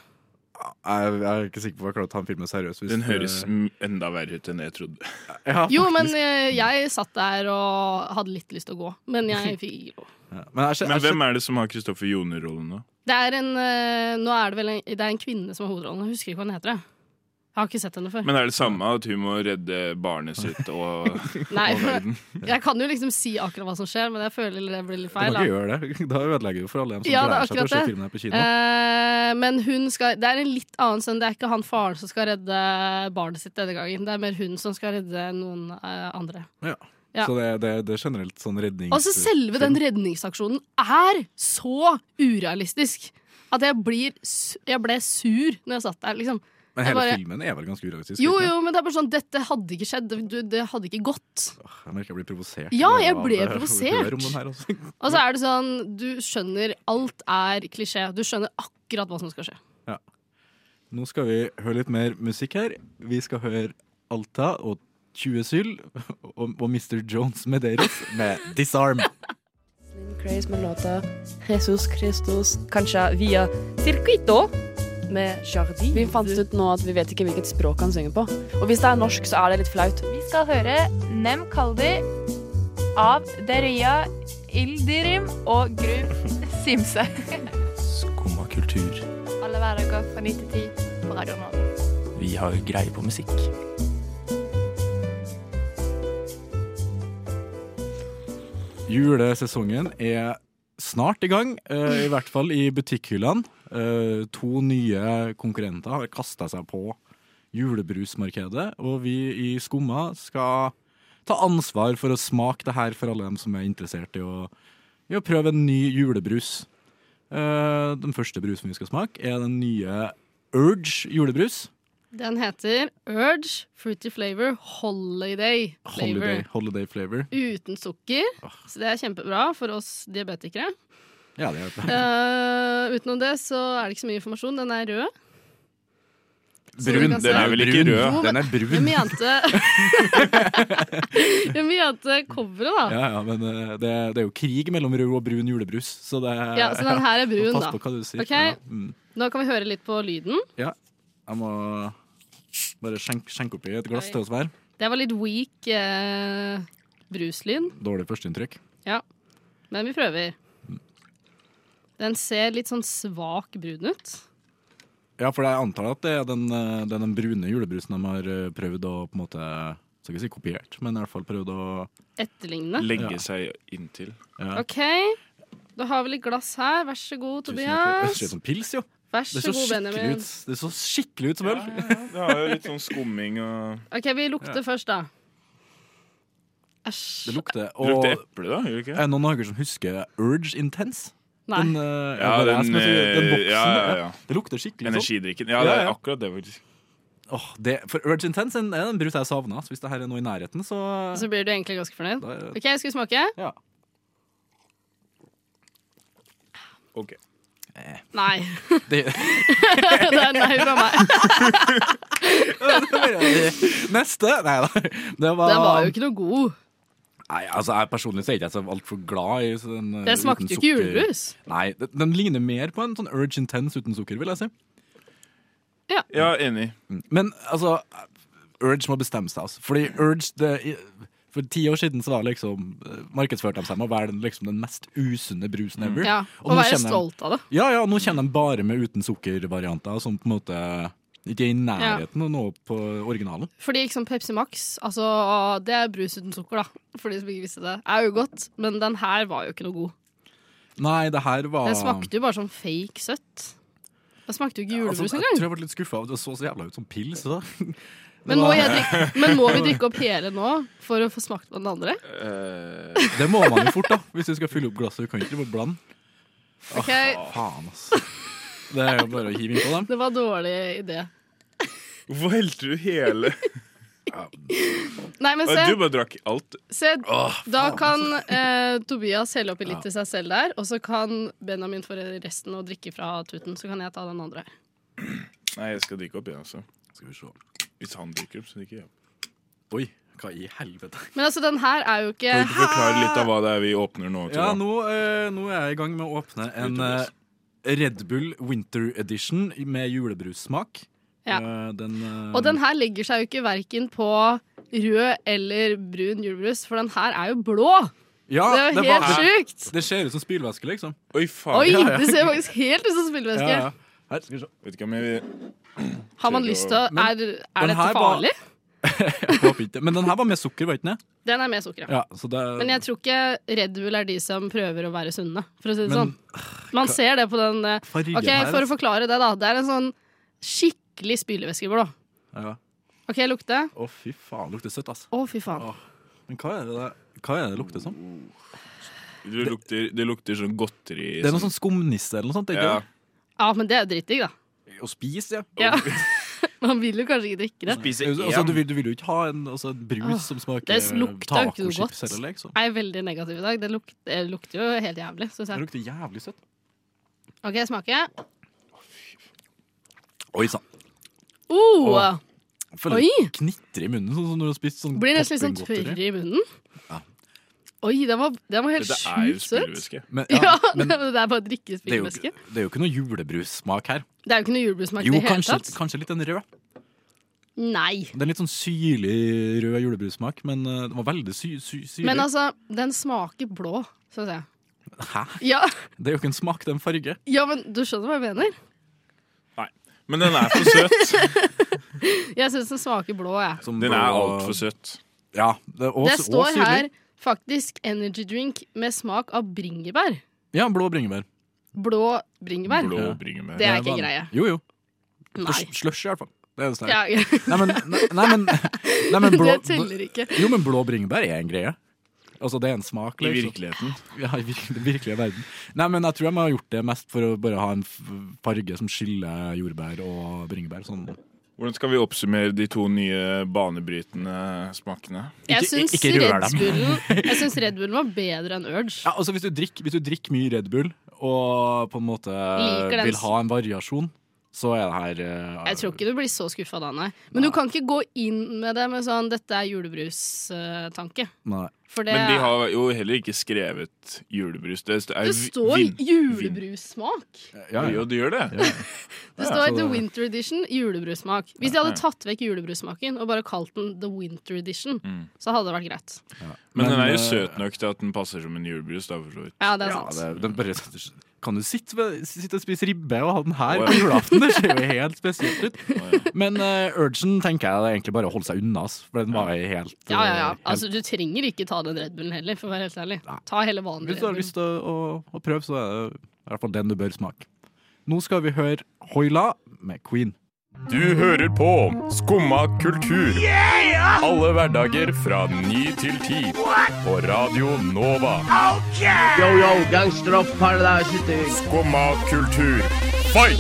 Speaker 3: Jeg, jeg er ikke sikker på om jeg klarer å ta den filmen seriøst. hvis
Speaker 6: Den
Speaker 3: det-
Speaker 6: høres m- enda verre ut enn jeg trodde.
Speaker 3: ja,
Speaker 5: Jo, men
Speaker 3: faktisk.
Speaker 5: eh, jeg satt der og hadde litt lyst til å gå, men jeg fikk ikke gå.
Speaker 3: Ja, men jeg,
Speaker 6: Men hvem er det som har Kristoffer Joner-rollen nå?
Speaker 5: Det er en, eh, nå er det vel en, det er en kvinne som har hovedrollen. Jeg husker ikke hva hun heter. Jeg, jeg har ikke sett henne før.
Speaker 6: Men er det samme at hun må redde barnet sitt og,
Speaker 5: Nei,
Speaker 6: og
Speaker 5: [LAUGHS]
Speaker 6: verden?
Speaker 5: jeg kan jo liksom si akkurat hva som skjer, men jeg føler det blir litt
Speaker 3: Du
Speaker 5: feil.
Speaker 3: må ikke
Speaker 5: Da.
Speaker 3: gjøre det. Da ødelegger du for alle dem som
Speaker 5: Ja, det er
Speaker 3: gleder seg til å
Speaker 5: akkurat
Speaker 3: se
Speaker 5: det.
Speaker 3: filmen her på kino.
Speaker 5: Eh, men hun skal Det er en litt annen sønn. Det er ikke han faren som skal redde barnet sitt denne gangen. Det er mer hun som skal redde noen eh, andre.
Speaker 3: Ja.
Speaker 5: Ja.
Speaker 3: Så det, det, det er generelt sånn rednings...
Speaker 5: Altså Selve den redningsaksjonen er så urealistisk at jeg, blir, su- jeg ble sur når jeg satt der. Liksom.
Speaker 3: Men hele
Speaker 5: bare-
Speaker 3: filmen er vel ganske urealistisk?
Speaker 5: Jo,
Speaker 3: ikke?
Speaker 5: jo, men det er bare sånn dette hadde ikke skjedd. Du, det hadde ikke gått.
Speaker 3: Åh, Jeg merker jeg blir provosert.
Speaker 5: Ja, jeg
Speaker 3: av-
Speaker 5: ble
Speaker 3: av-
Speaker 5: provosert.
Speaker 3: hør om den her, altså.
Speaker 5: Og så er det sånn, du skjønner alt er klisjé. Du skjønner akkurat hva som skal skje.
Speaker 3: Nå skal vi høre litt mer musikk her. Vi skal høre Alta og 20 Syl og, og Mr. Jones Medeiros med 'Disarm'.
Speaker 11: Slim Craze med låta Jesus Christus, kanskje via Circuito med Jardi. Vi fant ut nå at vi vet ikke hvilket språk han synger på. Og hvis det er norsk, så er det litt flaut.
Speaker 7: Vi skal høre Nem Kaldi av Deria Ildirim og Grub Simse.
Speaker 12: Skumma kultur.
Speaker 7: Alle hverdager fra 9 til 10 på Radio Nova.
Speaker 12: Vi har greie på musikk.
Speaker 3: Julesesongen er snart i gang, eh, i hvert fall i butikkhyllene. Eh, to nye konkurrenter har kasta seg på julebrusmarkedet, og vi i Skumma skal ta ansvar for å smake det her for alle dem som er interessert i å, i å prøve en ny julebrus. Eh, den første brusen vi skal smake, er den nye Urge julebrus.
Speaker 5: Den heter Urge Fruity Flavor Holiday
Speaker 3: Holiday,
Speaker 5: Flavor.
Speaker 3: holiday flavor.
Speaker 5: Uten sukker, så det er kjempebra for oss
Speaker 3: [LAUGHS]
Speaker 5: diabetikere.
Speaker 3: Ja, det hjelper.
Speaker 5: Eh, utenom det så er det ikke så mye informasjon. Den er
Speaker 3: [LAUGHS]
Speaker 5: rød. Så du
Speaker 6: Brun.
Speaker 5: kan
Speaker 6: Den
Speaker 5: se-
Speaker 6: er vel ikke
Speaker 5: altså. Brun.
Speaker 6: rød?
Speaker 5: Den er Jeg mente [LAUGHS] Jeg mente coveret, da.
Speaker 3: Ja, ja, men eh, det, det er jo krig mellom rød og brun julebrus, så det
Speaker 5: Ja, så den her er brun,
Speaker 3: Pass
Speaker 5: da.
Speaker 3: på hva du sier.
Speaker 5: Ok.
Speaker 3: Ja, mm.
Speaker 5: Nå kan vi høre litt på lyden.
Speaker 3: ja. Jeg må bare skjenke, skjenke oppi et glass
Speaker 5: Oi.
Speaker 3: til oss hver.
Speaker 5: Det var litt weak eh, bruslyd.
Speaker 3: Dårlig førsteinntrykk.
Speaker 5: Ja. Men vi prøver. Den ser litt sånn svak brun ut.
Speaker 3: Ja, for jeg antar at det er den, eh, det er den brune julebrusen de har eh, prøvd å på en måte Skal ikke si kopiert, men i hvert fall prøvd å
Speaker 5: Etterlignende.
Speaker 6: Legge seg inntil.
Speaker 3: Ja.
Speaker 5: OK. Da har vi litt glass her. Vær så god,
Speaker 3: Det
Speaker 5: Tobias.
Speaker 3: ser ut som pils, jo.
Speaker 5: Vær så
Speaker 3: Det ser
Speaker 5: god,
Speaker 3: skikkelig
Speaker 5: Benjamin.
Speaker 3: ut- Det så skikkelig ut som øl.
Speaker 6: Det har jo litt sånn skumming og
Speaker 5: OK, vi lukter
Speaker 3: Ja.
Speaker 5: først, da.
Speaker 3: Det lukter
Speaker 6: Det [LAUGHS] lukter eple, da, gjør det ikke?
Speaker 3: Er det noen av dere som husker Urge Intense?
Speaker 5: Nei.
Speaker 3: Den, eh, det
Speaker 6: Ja,
Speaker 3: er jeg
Speaker 6: den,
Speaker 3: som er så- den
Speaker 6: eh,
Speaker 3: boksen,
Speaker 6: ja, ja, ja.
Speaker 3: Det lukter skikkelig sånn.
Speaker 6: Energidrikken. Ja, det er akkurat det, faktisk.
Speaker 3: Åh, det, for Urge Intense er en- er en brus jeg savna. Så hvis det her er noe i nærheten, så
Speaker 5: Så blir du egentlig ganske fornøyd.
Speaker 3: Da-
Speaker 5: OK, skal vi smake?
Speaker 3: Ja.
Speaker 6: OK.
Speaker 5: Nei. [LAUGHS]
Speaker 3: Det- [LAUGHS]
Speaker 5: det er nei fra meg.
Speaker 3: Neste! Nei da. Det var,
Speaker 5: Den var jo ikke noe god.
Speaker 3: Nei, altså, jeg Personlig så er ikke jeg så altfor glad i sånn eh,
Speaker 5: Det smakte
Speaker 3: uten
Speaker 5: jo ikke
Speaker 3: sukker.
Speaker 5: julebrus.
Speaker 3: Nei, den, den ligner mer på en sånn Urge Intense uten sukker, vil jeg si.
Speaker 5: Ja.
Speaker 6: Ja, enig.
Speaker 3: Men altså, Urge må bestemme seg. Altså. Fordi Urge det, For ti år siden så var liksom eh, markedsførte de seg med å være den, liksom, den mest usunne brusen ever.
Speaker 5: Ja,
Speaker 3: nå
Speaker 5: og være
Speaker 3: kjenner de-
Speaker 5: stolt av det.
Speaker 3: Ja, ja, nå kjenner de bare med uten sukker-varianter, som på en måte ikke er i nærheten av å nå på originalen.
Speaker 5: Fordi liksom Pepsi Max, altså, det er brus uten sukker, da. For de som ikke visste det. Er jo godt, men den her var jo ikke noe god.
Speaker 3: Nei, det her var
Speaker 6: Ah.
Speaker 5: Den smakte jo bare sånn fake søtt. Den smakte jo ikke
Speaker 3: altså,
Speaker 5: julebrus
Speaker 3: Jeg
Speaker 5: engang.
Speaker 3: tror jeg ble litt skuffa. Det så så jævla ut som pils. Da. Det
Speaker 5: Men, må
Speaker 3: var-
Speaker 5: jeg drikke- men må vi drikke opp hele nå for å få smakt på den andre?
Speaker 3: Det må man jo fort, da. Hvis du skal fylle opp glasset. Du kan ikke bare blande. Åh,
Speaker 5: Ok.
Speaker 6: Ah.
Speaker 3: faen, ass. Det er jo bare å hive innpå dem.
Speaker 5: Det var dårlig idé.
Speaker 6: Hvorfor helte du
Speaker 5: [LAUGHS]
Speaker 6: hele?
Speaker 5: Nei, men se.
Speaker 6: Du bare drakk alt.
Speaker 5: Se,
Speaker 6: Åh,
Speaker 5: da
Speaker 6: faen, altså.
Speaker 5: kan eh, Tobias helle oppi litt til seg selv der, og så kan Benjamin få resten og drikke fra tuten. Så kan jeg ta den andre.
Speaker 6: Nei, jeg skal drikke opp, jeg også.
Speaker 3: Skal vi se.
Speaker 6: Hvis han drikker opp, så drikker jeg opp.
Speaker 3: Oi, hva i helvete?
Speaker 5: Men altså, den her er jo ikke
Speaker 6: Kan du ikke forklare litt av hva det er vi åpner nå?
Speaker 3: Ja,
Speaker 6: Tora?
Speaker 3: nå, eh, nå er jeg i gang med å åpne en eh, Red Bull Winter Edition med julebrussmak.
Speaker 5: Ja.
Speaker 3: Eh, den, eh,
Speaker 5: Og den her legger seg jo ikke verken på rød eller brun julebrus, for den her er jo blå!
Speaker 3: ja,
Speaker 5: det er jo helt
Speaker 3: var-
Speaker 5: sjukt!
Speaker 3: Det ser ut som spylvæske, liksom.
Speaker 6: Oi,
Speaker 5: Oi, det ser faktisk helt ut som spillevæske.
Speaker 3: Ja, ja. Her, skal vi se.
Speaker 6: Vet ikke om jeg
Speaker 5: Har man lyst til å
Speaker 3: Men
Speaker 5: Er, er
Speaker 3: den
Speaker 5: dette
Speaker 3: her var-
Speaker 5: farlig?
Speaker 3: Jeg håper ikke. Men den her var med sukker, var ikke den?
Speaker 5: Den er med sukker,
Speaker 3: Ja, så det er-
Speaker 5: Men jeg tror ikke Red Bull er de som prøver å være sunne, for å si det
Speaker 3: Men,
Speaker 5: sånn. Man ser det på den eh,
Speaker 3: Fargen
Speaker 5: Ok,
Speaker 3: her,
Speaker 5: For
Speaker 3: altså.
Speaker 5: å forklare det, da. Det er en sånn skikkelig spylevæskeblå.
Speaker 3: Ja.
Speaker 5: OK, lukte.
Speaker 3: Å, fy faen, lukter søtt, altså.
Speaker 5: Å, fy faen.
Speaker 3: Men hva er det det, hva er det, det lukter som?
Speaker 6: Det lukter, det lukter sånn godteri.
Speaker 3: Det er noe sånn skumnisse eller noe sånt. Ikke?
Speaker 6: Ja.
Speaker 5: Ja, men det er dritdigg, da.
Speaker 3: Å spise, ja.
Speaker 5: Ja. [LAUGHS] Man vil jo kanskje ikke drikke det.
Speaker 3: altså, du, vil, du vil jo ikke ha en altså, en brus
Speaker 5: Åh,
Speaker 3: som smaker
Speaker 5: det lukta jo ikke noe
Speaker 3: tacochips
Speaker 5: godt.
Speaker 3: eller liksom.
Speaker 5: Jeg er veldig negativ i dag. Det lukter, det lukter jo helt jævlig. synes
Speaker 3: Det
Speaker 5: jeg.
Speaker 3: lukter jævlig søtt.
Speaker 5: OK, smaker.
Speaker 3: Oi sann.
Speaker 5: Oh,
Speaker 3: Åh, Jeg Føler
Speaker 5: Oi.
Speaker 3: det knitrer i munnen, sånn som når du har spist sånn
Speaker 5: blir nesten litt sånn tørr
Speaker 3: poppinggodteri.
Speaker 5: i munnen. Oi, den var, den var helt
Speaker 3: Dette er jo
Speaker 5: sjukt søt.
Speaker 3: spylevæske. Men-
Speaker 5: [LAUGHS] ja,
Speaker 3: ja, men-
Speaker 5: det er bare
Speaker 3: Det er, jo,
Speaker 5: drikkespylevæske.
Speaker 3: ikke- det er jo ikke noe julebrussmak her.
Speaker 5: Det er jo ikke noe julebrusmak i
Speaker 3: Jo,
Speaker 5: det hele
Speaker 3: kanskje,
Speaker 5: tatt.
Speaker 3: kanskje litt en rød.
Speaker 5: Nei.
Speaker 3: Det er litt sånn syrlig rød julebrussmak, men eh, den var veldig sy sy syrlig.
Speaker 5: Men altså, den smaker blå, syns jeg.
Speaker 3: Hæ?
Speaker 5: Ja. [LAUGHS]
Speaker 3: Det er jo ikke en smak, det er en farge.
Speaker 5: ja, men du skjønner hva jeg mener?
Speaker 6: Men den er for søt.
Speaker 3: [LAUGHS]
Speaker 5: Jeg syns den smaker blå, jeg.
Speaker 6: Den er altfor søt.
Speaker 3: Ja, det, og,
Speaker 5: Det
Speaker 3: og
Speaker 5: står
Speaker 3: syrlig.
Speaker 5: her faktisk energy drink med smak av bringebær.
Speaker 3: Ja, blå bringebær.
Speaker 5: Blå bringebær.
Speaker 3: Ja.
Speaker 5: Det er ikke
Speaker 3: vanlig.
Speaker 5: greie.
Speaker 3: Jo, jo.
Speaker 5: Nei.
Speaker 3: Sl- Slush, i hvert fall. Det er det sterke.
Speaker 5: Ja, ja.
Speaker 3: Nei, men, nei, nei, men, nei, men blå,
Speaker 5: [LAUGHS] Det teller ikke.
Speaker 3: Jo, men blå bringebær er en greie. Altså, det er en smak.
Speaker 6: I
Speaker 3: liksom.
Speaker 6: virkeligheten.
Speaker 3: Ja, i virke, den virkelige verden. Nei, men jeg tror jeg må ha gjort det mest for å bare ha en f- farge som skiller jordbær og bringebær. Sånn
Speaker 6: Hvordan skal vi oppsummere de to nye banebrytende smakene?
Speaker 5: Jeg syns Red, Bullen- jeg syns Red Bullen var bedre enn Urge.
Speaker 3: Ja, altså hvis du, drikker, hvis du drikker mye Red Bull og på en måte
Speaker 5: Liker den.
Speaker 3: vil ha en variasjon, så er det her eh,
Speaker 5: Jeg tror ikke du blir så skuffa da, nei. Men du kan ikke gå inn med det med sånn 'dette er julebrus'-tanke.
Speaker 3: Nei.
Speaker 5: For det,
Speaker 6: Men de har jo heller ikke skrevet julebrus. Det, er
Speaker 5: det
Speaker 6: vi-
Speaker 5: står
Speaker 6: vin-
Speaker 5: julebrussmak.
Speaker 6: Ja, ja. Jo, det gjør det.
Speaker 5: Det
Speaker 6: Ja,
Speaker 5: står
Speaker 6: så-
Speaker 5: The Winter Edition julebrussmak. Hvis de
Speaker 6: Ja,
Speaker 5: hadde
Speaker 6: ja.
Speaker 5: tatt vekk julebrussmaken og bare kalt den The Winter Edition,
Speaker 6: Mm.
Speaker 5: så hadde det vært greit.
Speaker 6: Men, den er
Speaker 3: Men,
Speaker 6: jo
Speaker 3: eh,
Speaker 6: søt nok til at den passer som en julebrus. Da, for så vidt.
Speaker 5: Ja, det er sant.
Speaker 3: det- den bare, kan du sitte, ved, sitte og spise ribbe og ha den her
Speaker 6: Å, ja.
Speaker 3: på julaften? Det ser jo helt
Speaker 6: [LAUGHS]
Speaker 3: spesielt ut. Men eh, urgen tenker jeg det er egentlig bare å holde seg unna, ass, for den var helt
Speaker 5: Ja, ja, ja.
Speaker 3: eh, helt-
Speaker 5: Altså, du trenger ikke ta den Red Bullen heller, for å være helt ærlig. Ta heller vanlig
Speaker 3: Hvis
Speaker 5: Red
Speaker 3: du har
Speaker 5: Bull.
Speaker 3: lyst til å, å, å prøve, så er det i hvert fall den du bør smake. Nå skal vi høre Hoila med Queen.
Speaker 13: Du hører på Skumma kultur.
Speaker 3: Yeah!
Speaker 13: Alle hverdager fra ny til ti. På Radio Nova.
Speaker 14: Yo, yo, gangsterrock paradise city.
Speaker 13: Skumma kultur. Fight!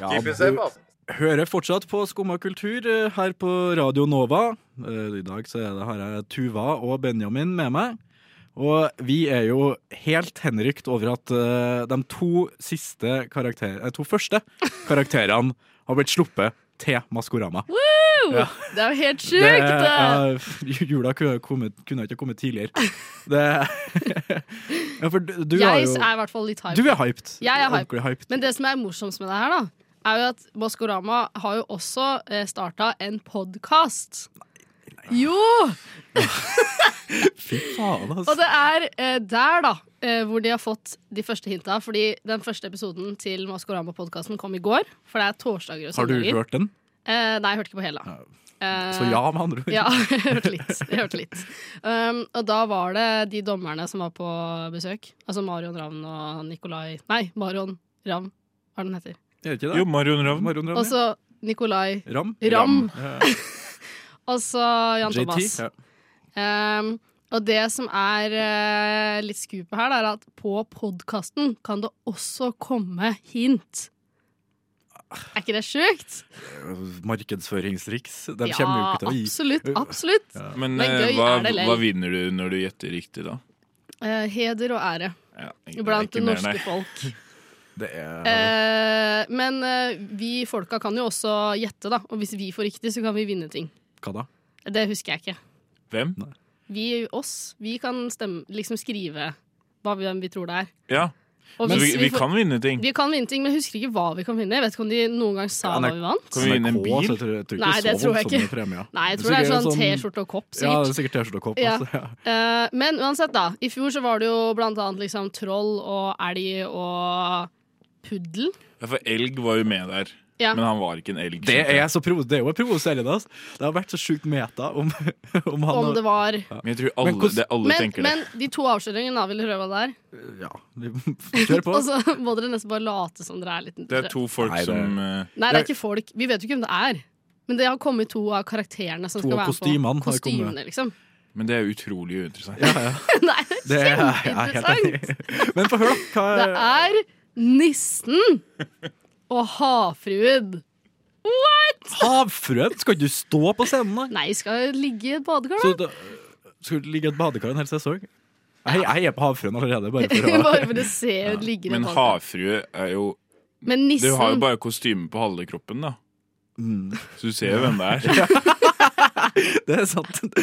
Speaker 3: Ja, du hører fortsatt på Skumma kultur eh, her på Radio Nova. Eh, I dag så er det, har jeg Tuva og Benjamin med meg. Og vi er jo helt henrykt over at eh, de to, siste karakter, eh, to første karakterene har blitt sluppet til Maskorama.
Speaker 5: Woo!
Speaker 3: Ja.
Speaker 5: Det er jo helt
Speaker 3: Det,
Speaker 5: sjukt!
Speaker 3: ja, [LAUGHS] jula kunne, kommet, kunne ikke ha kommet tidligere. Det, [LAUGHS] ja, for du, du har
Speaker 5: jeg
Speaker 3: jo
Speaker 5: er i hvert fall litt hyped.
Speaker 3: Du er hyped.
Speaker 5: Jeg er hyped.
Speaker 3: Ordentlig hyped.
Speaker 5: Men det som er morsomst med det her, da, er jo at Maskorama har jo også eh, starta en podkast. Jo!
Speaker 3: Fy faen,
Speaker 5: Og det er eh, der, da, eh, hvor de har fått de første hinta. Fordi den første episoden til Maskorama-podkasten kom i går. For det er torsdager og
Speaker 3: Har du
Speaker 5: søndager.
Speaker 3: hørt den?
Speaker 5: Eh, nei, jeg hørte ikke på hele. Eh,
Speaker 3: Så ja, med andre ord.
Speaker 5: [LAUGHS] Ja, jeg hørte litt. Jeg hørte litt. Um, og da var det de dommerne som var på besøk. Altså Marion Ravn og Nikolai Nei, Marion Ravn, hva er det den heter.
Speaker 3: Er det ikke det?
Speaker 6: Jo, Marion Ravn.
Speaker 5: Og så Nikolai
Speaker 3: Ram.
Speaker 5: Ram.
Speaker 3: Ja.
Speaker 5: Og så Jan
Speaker 3: JT,
Speaker 5: Thomas.
Speaker 3: ja.
Speaker 5: Um, og det som er eh, litt skupet her, det er at på podkasten kan det også komme hint. Er ikke det sjukt?
Speaker 3: Markedsføringstriks. De
Speaker 5: Ja,
Speaker 3: kommer jo ikke til å gi
Speaker 5: absolutt, absolutt. Ja.
Speaker 6: Men,
Speaker 5: Men
Speaker 6: eh,
Speaker 5: gøy
Speaker 6: hva,
Speaker 5: er det lell.
Speaker 6: hva vinner du når du gjetter riktig, da?
Speaker 5: Eh, heder og ære
Speaker 6: det er
Speaker 5: blant
Speaker 6: ikke
Speaker 5: det
Speaker 6: mer,
Speaker 5: norske
Speaker 6: nei.
Speaker 5: folk.
Speaker 3: Det er
Speaker 5: Eh, men eh, vi folka kan jo også gjette, da. Og hvis vi får riktig, så kan vi vinne ting.
Speaker 3: Hva da?
Speaker 5: Det husker jeg ikke.
Speaker 6: Hvem?
Speaker 5: Vi, oss, vi kan stemme, liksom skrive hva vi, hvem vi tror det er.
Speaker 6: Ja.
Speaker 5: Og
Speaker 6: Så
Speaker 5: hvis
Speaker 6: vi, vi
Speaker 5: får-
Speaker 6: kan vinne ting.
Speaker 5: Vi kan vinne ting, men jeg husker ikke hva vi kan vinne. Jeg vet ikke om de noen gang sa hva vi vant.
Speaker 6: Kan vi vinne en
Speaker 3: NRK,
Speaker 6: bil?
Speaker 3: så jeg tror- jeg tror ikke
Speaker 5: Nei, det
Speaker 3: så
Speaker 5: tror jeg
Speaker 3: voldsomme
Speaker 5: ikke.
Speaker 3: premier.
Speaker 5: Nei, jeg
Speaker 3: Det
Speaker 5: tror det er
Speaker 3: sikkert
Speaker 5: sånn T-skjorte og kopp,
Speaker 3: Ja, det er
Speaker 5: sikkert.
Speaker 3: sikkert T-skjorte og kopp.
Speaker 5: Ja.
Speaker 3: Altså, ja.
Speaker 5: Eh, men uansett, da. I fjor så var det jo blant annet liksom troll og elg og puddel.
Speaker 6: Ja, for elg var jo med der.
Speaker 5: Ja.
Speaker 6: Men han var ikke en elg.
Speaker 3: Det er, så provo det er jo provoserende. ass. Det har vært så sjukt meta om, om han
Speaker 5: Om det var
Speaker 3: Ja.
Speaker 6: Men jeg tror alle,
Speaker 3: hvordan-
Speaker 6: det, alle
Speaker 5: men,
Speaker 6: tenker det.
Speaker 5: men de to avsløringene, da, vil dere høre hva det er?
Speaker 3: Ja, vi- kjør på.
Speaker 5: [LAUGHS] Og så må dere nesten bare late som dere er litt
Speaker 6: Det er to folk
Speaker 3: Nei, det-
Speaker 6: som eh,
Speaker 5: Nei, det er ikke folk. Vi vet jo ikke hvem det er. Men det har kommet to av karakterene som
Speaker 6: To
Speaker 5: skal
Speaker 6: av
Speaker 5: være
Speaker 6: kostymene
Speaker 5: med på
Speaker 6: har kommet.
Speaker 5: kostymene. Liksom. [LAUGHS]
Speaker 6: Men det er utrolig uinteressant.
Speaker 5: Nei,
Speaker 6: Det er-
Speaker 5: kjempeinteressant!
Speaker 3: Men få høre, da.
Speaker 6: [LAUGHS]
Speaker 5: Det er nissen og havfruen. What?!
Speaker 3: Havfrøen? Skal du stå på scenen, da?
Speaker 5: Nei, skal ligge i et badekar,
Speaker 3: Så
Speaker 5: da.
Speaker 3: da, skal du ligge i et badekar en hel sesong? Jeg, jeg er på havfrøen allerede, bare
Speaker 5: [LAUGHS]
Speaker 3: for å
Speaker 5: Bare for å se hun ligger i
Speaker 6: Men
Speaker 5: et badekar.
Speaker 6: havfrue er jo
Speaker 5: Men nissen
Speaker 6: Du har jo bare kostyme på halve kroppen, da. Så du ser jo hvem det
Speaker 3: [LAUGHS]
Speaker 6: er.
Speaker 3: Mm, Det er
Speaker 5: [LAUGHS]
Speaker 3: sant.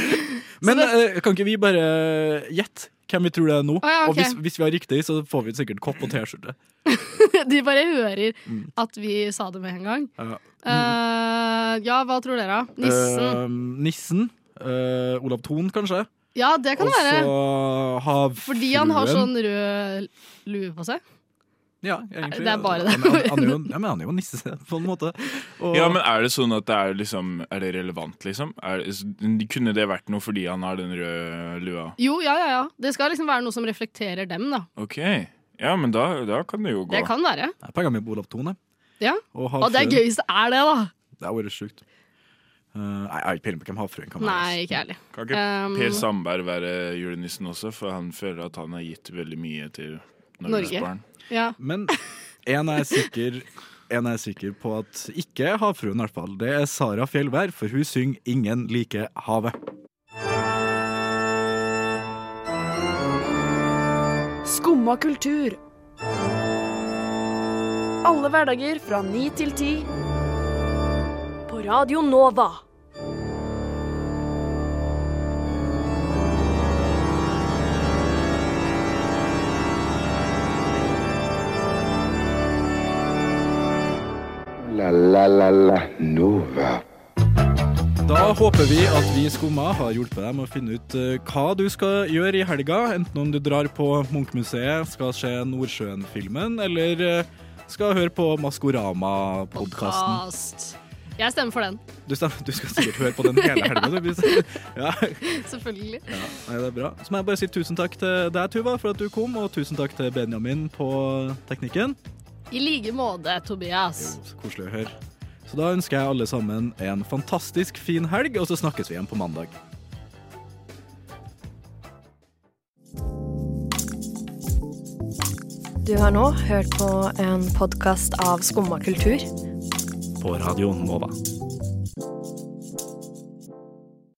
Speaker 3: Men eh, kan ikke vi bare eh, gjette hvem vi tror det er nå?
Speaker 5: Å ja, ok.
Speaker 3: Og hvis, hvis vi har riktig, så får vi sikkert kopp og T-skjorte.
Speaker 5: [LAUGHS] De bare hører
Speaker 3: Mm.
Speaker 5: at vi sa det med en gang.
Speaker 3: Ja.
Speaker 6: Mm.
Speaker 5: Eh, ja, hva tror dere? da? Nissen?
Speaker 3: Eh, nissen. Eh, Olav Thon, kanskje.
Speaker 5: Ja, det kan det være.
Speaker 3: Og så havfruen.
Speaker 5: Fordi han har sånn rød lue på seg.
Speaker 3: Ja, egentlig.
Speaker 5: Det er bare det.
Speaker 3: Han, han, han, er jo, ja, men han er jo nisse, på en
Speaker 6: [LAUGHS]
Speaker 3: måte. Og,
Speaker 6: Ja, men er det sånn at det er liksom Er det relevant, liksom? Er, det- kunne det vært noe fordi han har den røde lua?
Speaker 5: Jo, ja, ja, ja. Det skal liksom være noe som reflekterer dem, da.
Speaker 6: OK. Ja, men da, da kan det jo gå.
Speaker 5: Det kan være.
Speaker 3: Det er pengene mine på Olav Thon, jeg.
Speaker 5: Ja.
Speaker 3: Og
Speaker 5: Og det er gøy hvis det er det, da.
Speaker 3: Det har vært sjukt. Eh, nei, jeg har ikke peiling på hvem havfruen kan være.
Speaker 5: Nei, ikke ærlig. Um,
Speaker 6: Kan ikke altså. Per Sandberg være julenissen også, for han føler at han har gitt veldig mye til Norges
Speaker 5: Norge.
Speaker 6: barn.
Speaker 5: Ja.
Speaker 3: Men en er sikker En er sikker på at ikke er havfruen, i hvert fall. Det er Sara Fjellberg, for hun synger 'Ingen liker havet'.
Speaker 15: Skumma kultur. Alle hverdager fra ni til ti. På Radio Nova.
Speaker 2: La la la la Nova.
Speaker 3: Da håper vi at vi i Skumma har hjulpet deg med å finne ut eh, hva du skal gjøre i helga. Enten om du drar på Munchmuseet, skal se Nordsjøen-filmen, eller eh, skal høre på Maskorama-podkasten.
Speaker 5: Kast. Jeg stemmer for den, [LAUGHS]
Speaker 3: Du, stemmer, du skal sikkert høre på den hele helga, du. hvis- [LAUGHS] Ja.
Speaker 5: selvfølgelig.
Speaker 3: Ja, nei, det er bra. Så må jeg bare si tusen takk til deg, Tuva, for at du kom, og tusen takk til Benjamin på teknikken.
Speaker 5: I like måte, Tobias.
Speaker 3: Så koselig å høre. Så da ønsker jeg alle sammen en fantastisk fin helg, og så snakkes vi igjen på mandag.
Speaker 16: Du har nå hørt på en podkast av Skumma kultur.
Speaker 3: På radioen Nova.